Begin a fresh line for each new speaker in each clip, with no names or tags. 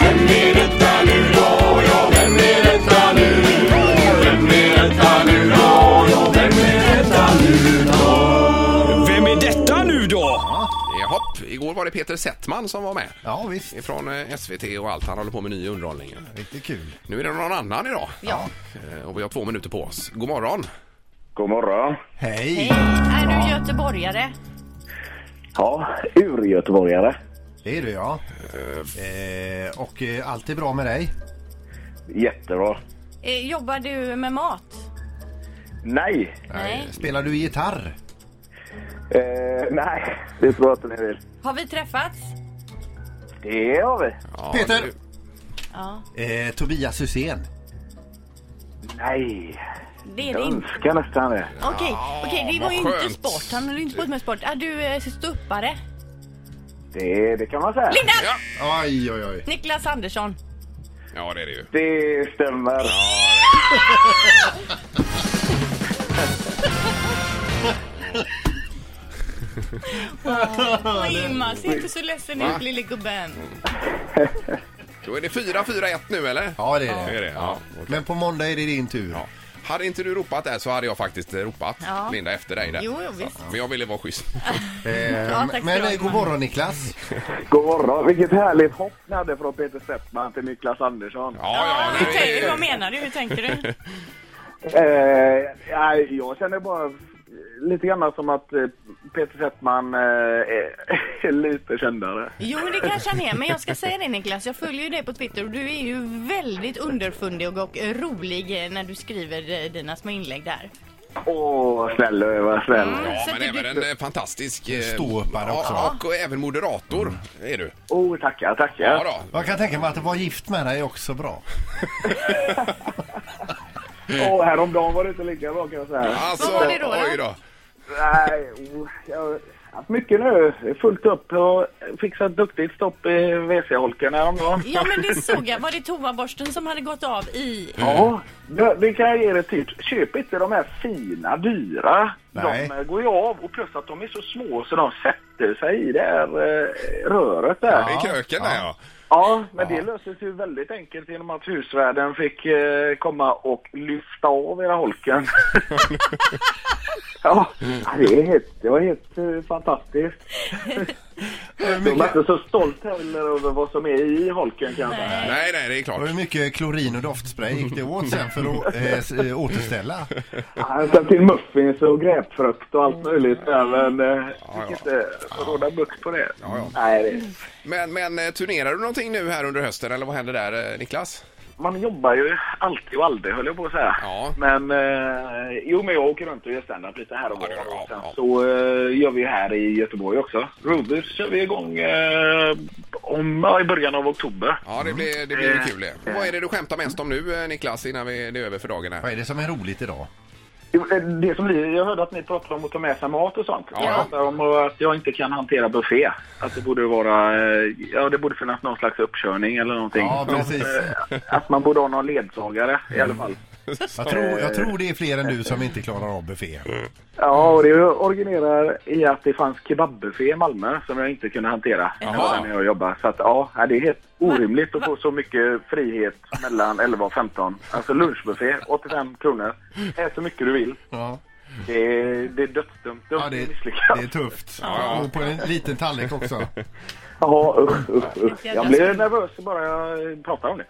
Vem är detta nu då? Ja, vem är detta nu? Vem är detta nu då? Ja, vem är detta nu då?
Vem är detta nu då?
Jaha, igår var det Peter Settman som var med.
Ja, visst.
Från eh, SVT och allt. Han håller på med ny underhållning.
Riktigt kul.
Nu är det någon annan idag.
Ja.
Eh, Och vi har två minuter på oss. God morgon.
God morgon.
Hej!
Hej, Eh, är du göteborgare?
Ja, urgöteborgare.
Det är du ja. Eh, och eh, allt är bra med dig?
Jättebra.
Eh, Jobbar du med mat?
Nej!
Nej.
Spelar du gitarr?
Eh, nej, det tror jag inte ni vill.
Har vi träffats?
Det har vi.
Ja,
Peter!
nu-
Ja.
Eh, Tobias Hysén?
Nej,
Det är det
jag
inte.
önskar nästan det.
Okej, okej, det
vad
var ju inte
skönt.
sport. Han höll ju inte på med sport. Är du eh, ståuppare?
Det, det kan man säga.
Linda!
Ja,
Oj, oj, oj.
Niklas Andersson.
ja, det är det ju.
Det stämmer.
Åh, Ingmar, se inte så ledsen ut lille gubben.
Då är det 4-4-1 nu, eller?
Ja, det
Det
är
är
det.
det, ja.
Men på måndag är det din tur.
ja. Hade inte du ropat där så hade jag faktiskt eh, ropat,
Ja.
Linda, efter dig där.
Jo, jo, visst.
Men jag ville vara schysst.
Eh,
Ja, tack ska
men
du ha,
eh, god morgon Niklas.
God morgon. Vilket härligt hopp ni hade från Peter Settman till Niklas Andersson.
Ja, ja,
Hur
nu är
tänker- Vad
det...
menar du? Hur tänker du?
Eh, nej, jag känner bara eh, lite grann som att eh, Peter Settman eh, är- är lite kändare.
Jo, men det kanske han är. Men jag ska säga det Niklas, jag följer ju dig på Twitter och du är ju väldigt underfundig och, och rolig eh, när du skriver eh, dina små inlägg där.
Åh, snäll vad snäll.
Ja,
Så
men
det
även
blir-
en eh, fantastisk... eh,
Ståuppare också. Mm.
Ja, och även moderator är du.
Åh, tackar, tackar.
Ja, då.
Jag kan tänka mig att vara gift med dig är också bra.
Och häromdagen var det inte lika bra kan jag säga.
Alltså,
Vad var det då, då?
Oj då.
Nej, oh, jag har haft mycket nu. Fullt upp och fixat duktigt stopp i WC-holken häromdagen.
Ja, men det såg jag. Var det toaborsten som hade gått av i...
Ja, det, det kan jag ge dig ett tips. Köp inte de här fina, dyra.
Nej.
De eh, går ju av och plus att de är så små så de sätter sig i det här eh, röret där.
I kröken där, ja.
Ja, men det löstes ju väldigt enkelt genom att husvärden fick eh, komma och lyfta av era holken. ja, det, är helt, det var helt eh, fantastiskt.
Hur
De är
mycket,
inte så stolta heller över vad som är i holken kan jag säga.
Nej, nej, det är klart.
hur mycket klorin och doftspray gick det åt sen för att eh, s- eh, återställa?
Han satt till muffins och gräpfrukt och allt möjligt där, men eh, fick inte råda bukt på det. Nej, det.
Men, men eh, turnerar du någonting nu här under hösten eller vad händer där eh, Niklas?
Man jobbar ju alltid och aldrig höll jag på att säga.
Ja.
Men eh, jo, men jag åker runt och gör standup lite här och var.
Ja, ja, ja.
Sen så eh, gör vi här i Göteborg också. Rubus kör vi igång eh, om, ja, i början av oktober.
Ja,
Mm.
det blir, det blir
Eh,
kul det. Vad är det du skämtar mest om nu eh, Niklas innan vi, det är över för dagen här?
Vad är det som är roligt idag?
Jo, eh, Det som vi, jag hörde att ni pratade om att ta med sig mat och sånt.
Ja.
Jag pratade om att jag inte kan hantera buffé. Att det borde vara, eh, ja det borde finnas någon slags uppkörning eller någonting.
Ja, precis.
Eh, Att man borde ha någon ledsagare i alla fall.
Jag tror, jag tror det är fler än du som inte klarar av buffé.
Ja, och det originerar i att det fanns kebabbuffé i Malmö som jag inte kunde hantera
Jaha.
när jag jobbade. Så att, ja, det är helt orimligt att få så mycket frihet mellan 11 och 15. Alltså lunchbuffé, 85 kronor. Ät så mycket du vill.
Ja,
Det är, det är dödsdömt.
ja det, det är tufft. Och på en liten tallrik också.
Ja, usch, usch, usch. Jag blir nervös bara jag pratar om det.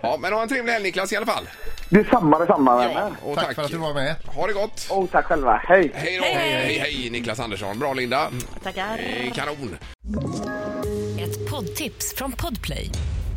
Ja, men ha en trevlig helg Niklas i alla fall.
Detsamma, detsamma vänner.
Ja, och
Tack,
tack.
för att du var med.
Ha det gott!
Och tack själva. Hej!
Hej då! Hej, hej, Niklas Andersson. Bra Linda.
Tackar.
Eh, Kanon!
Ett poddtips från Podplay.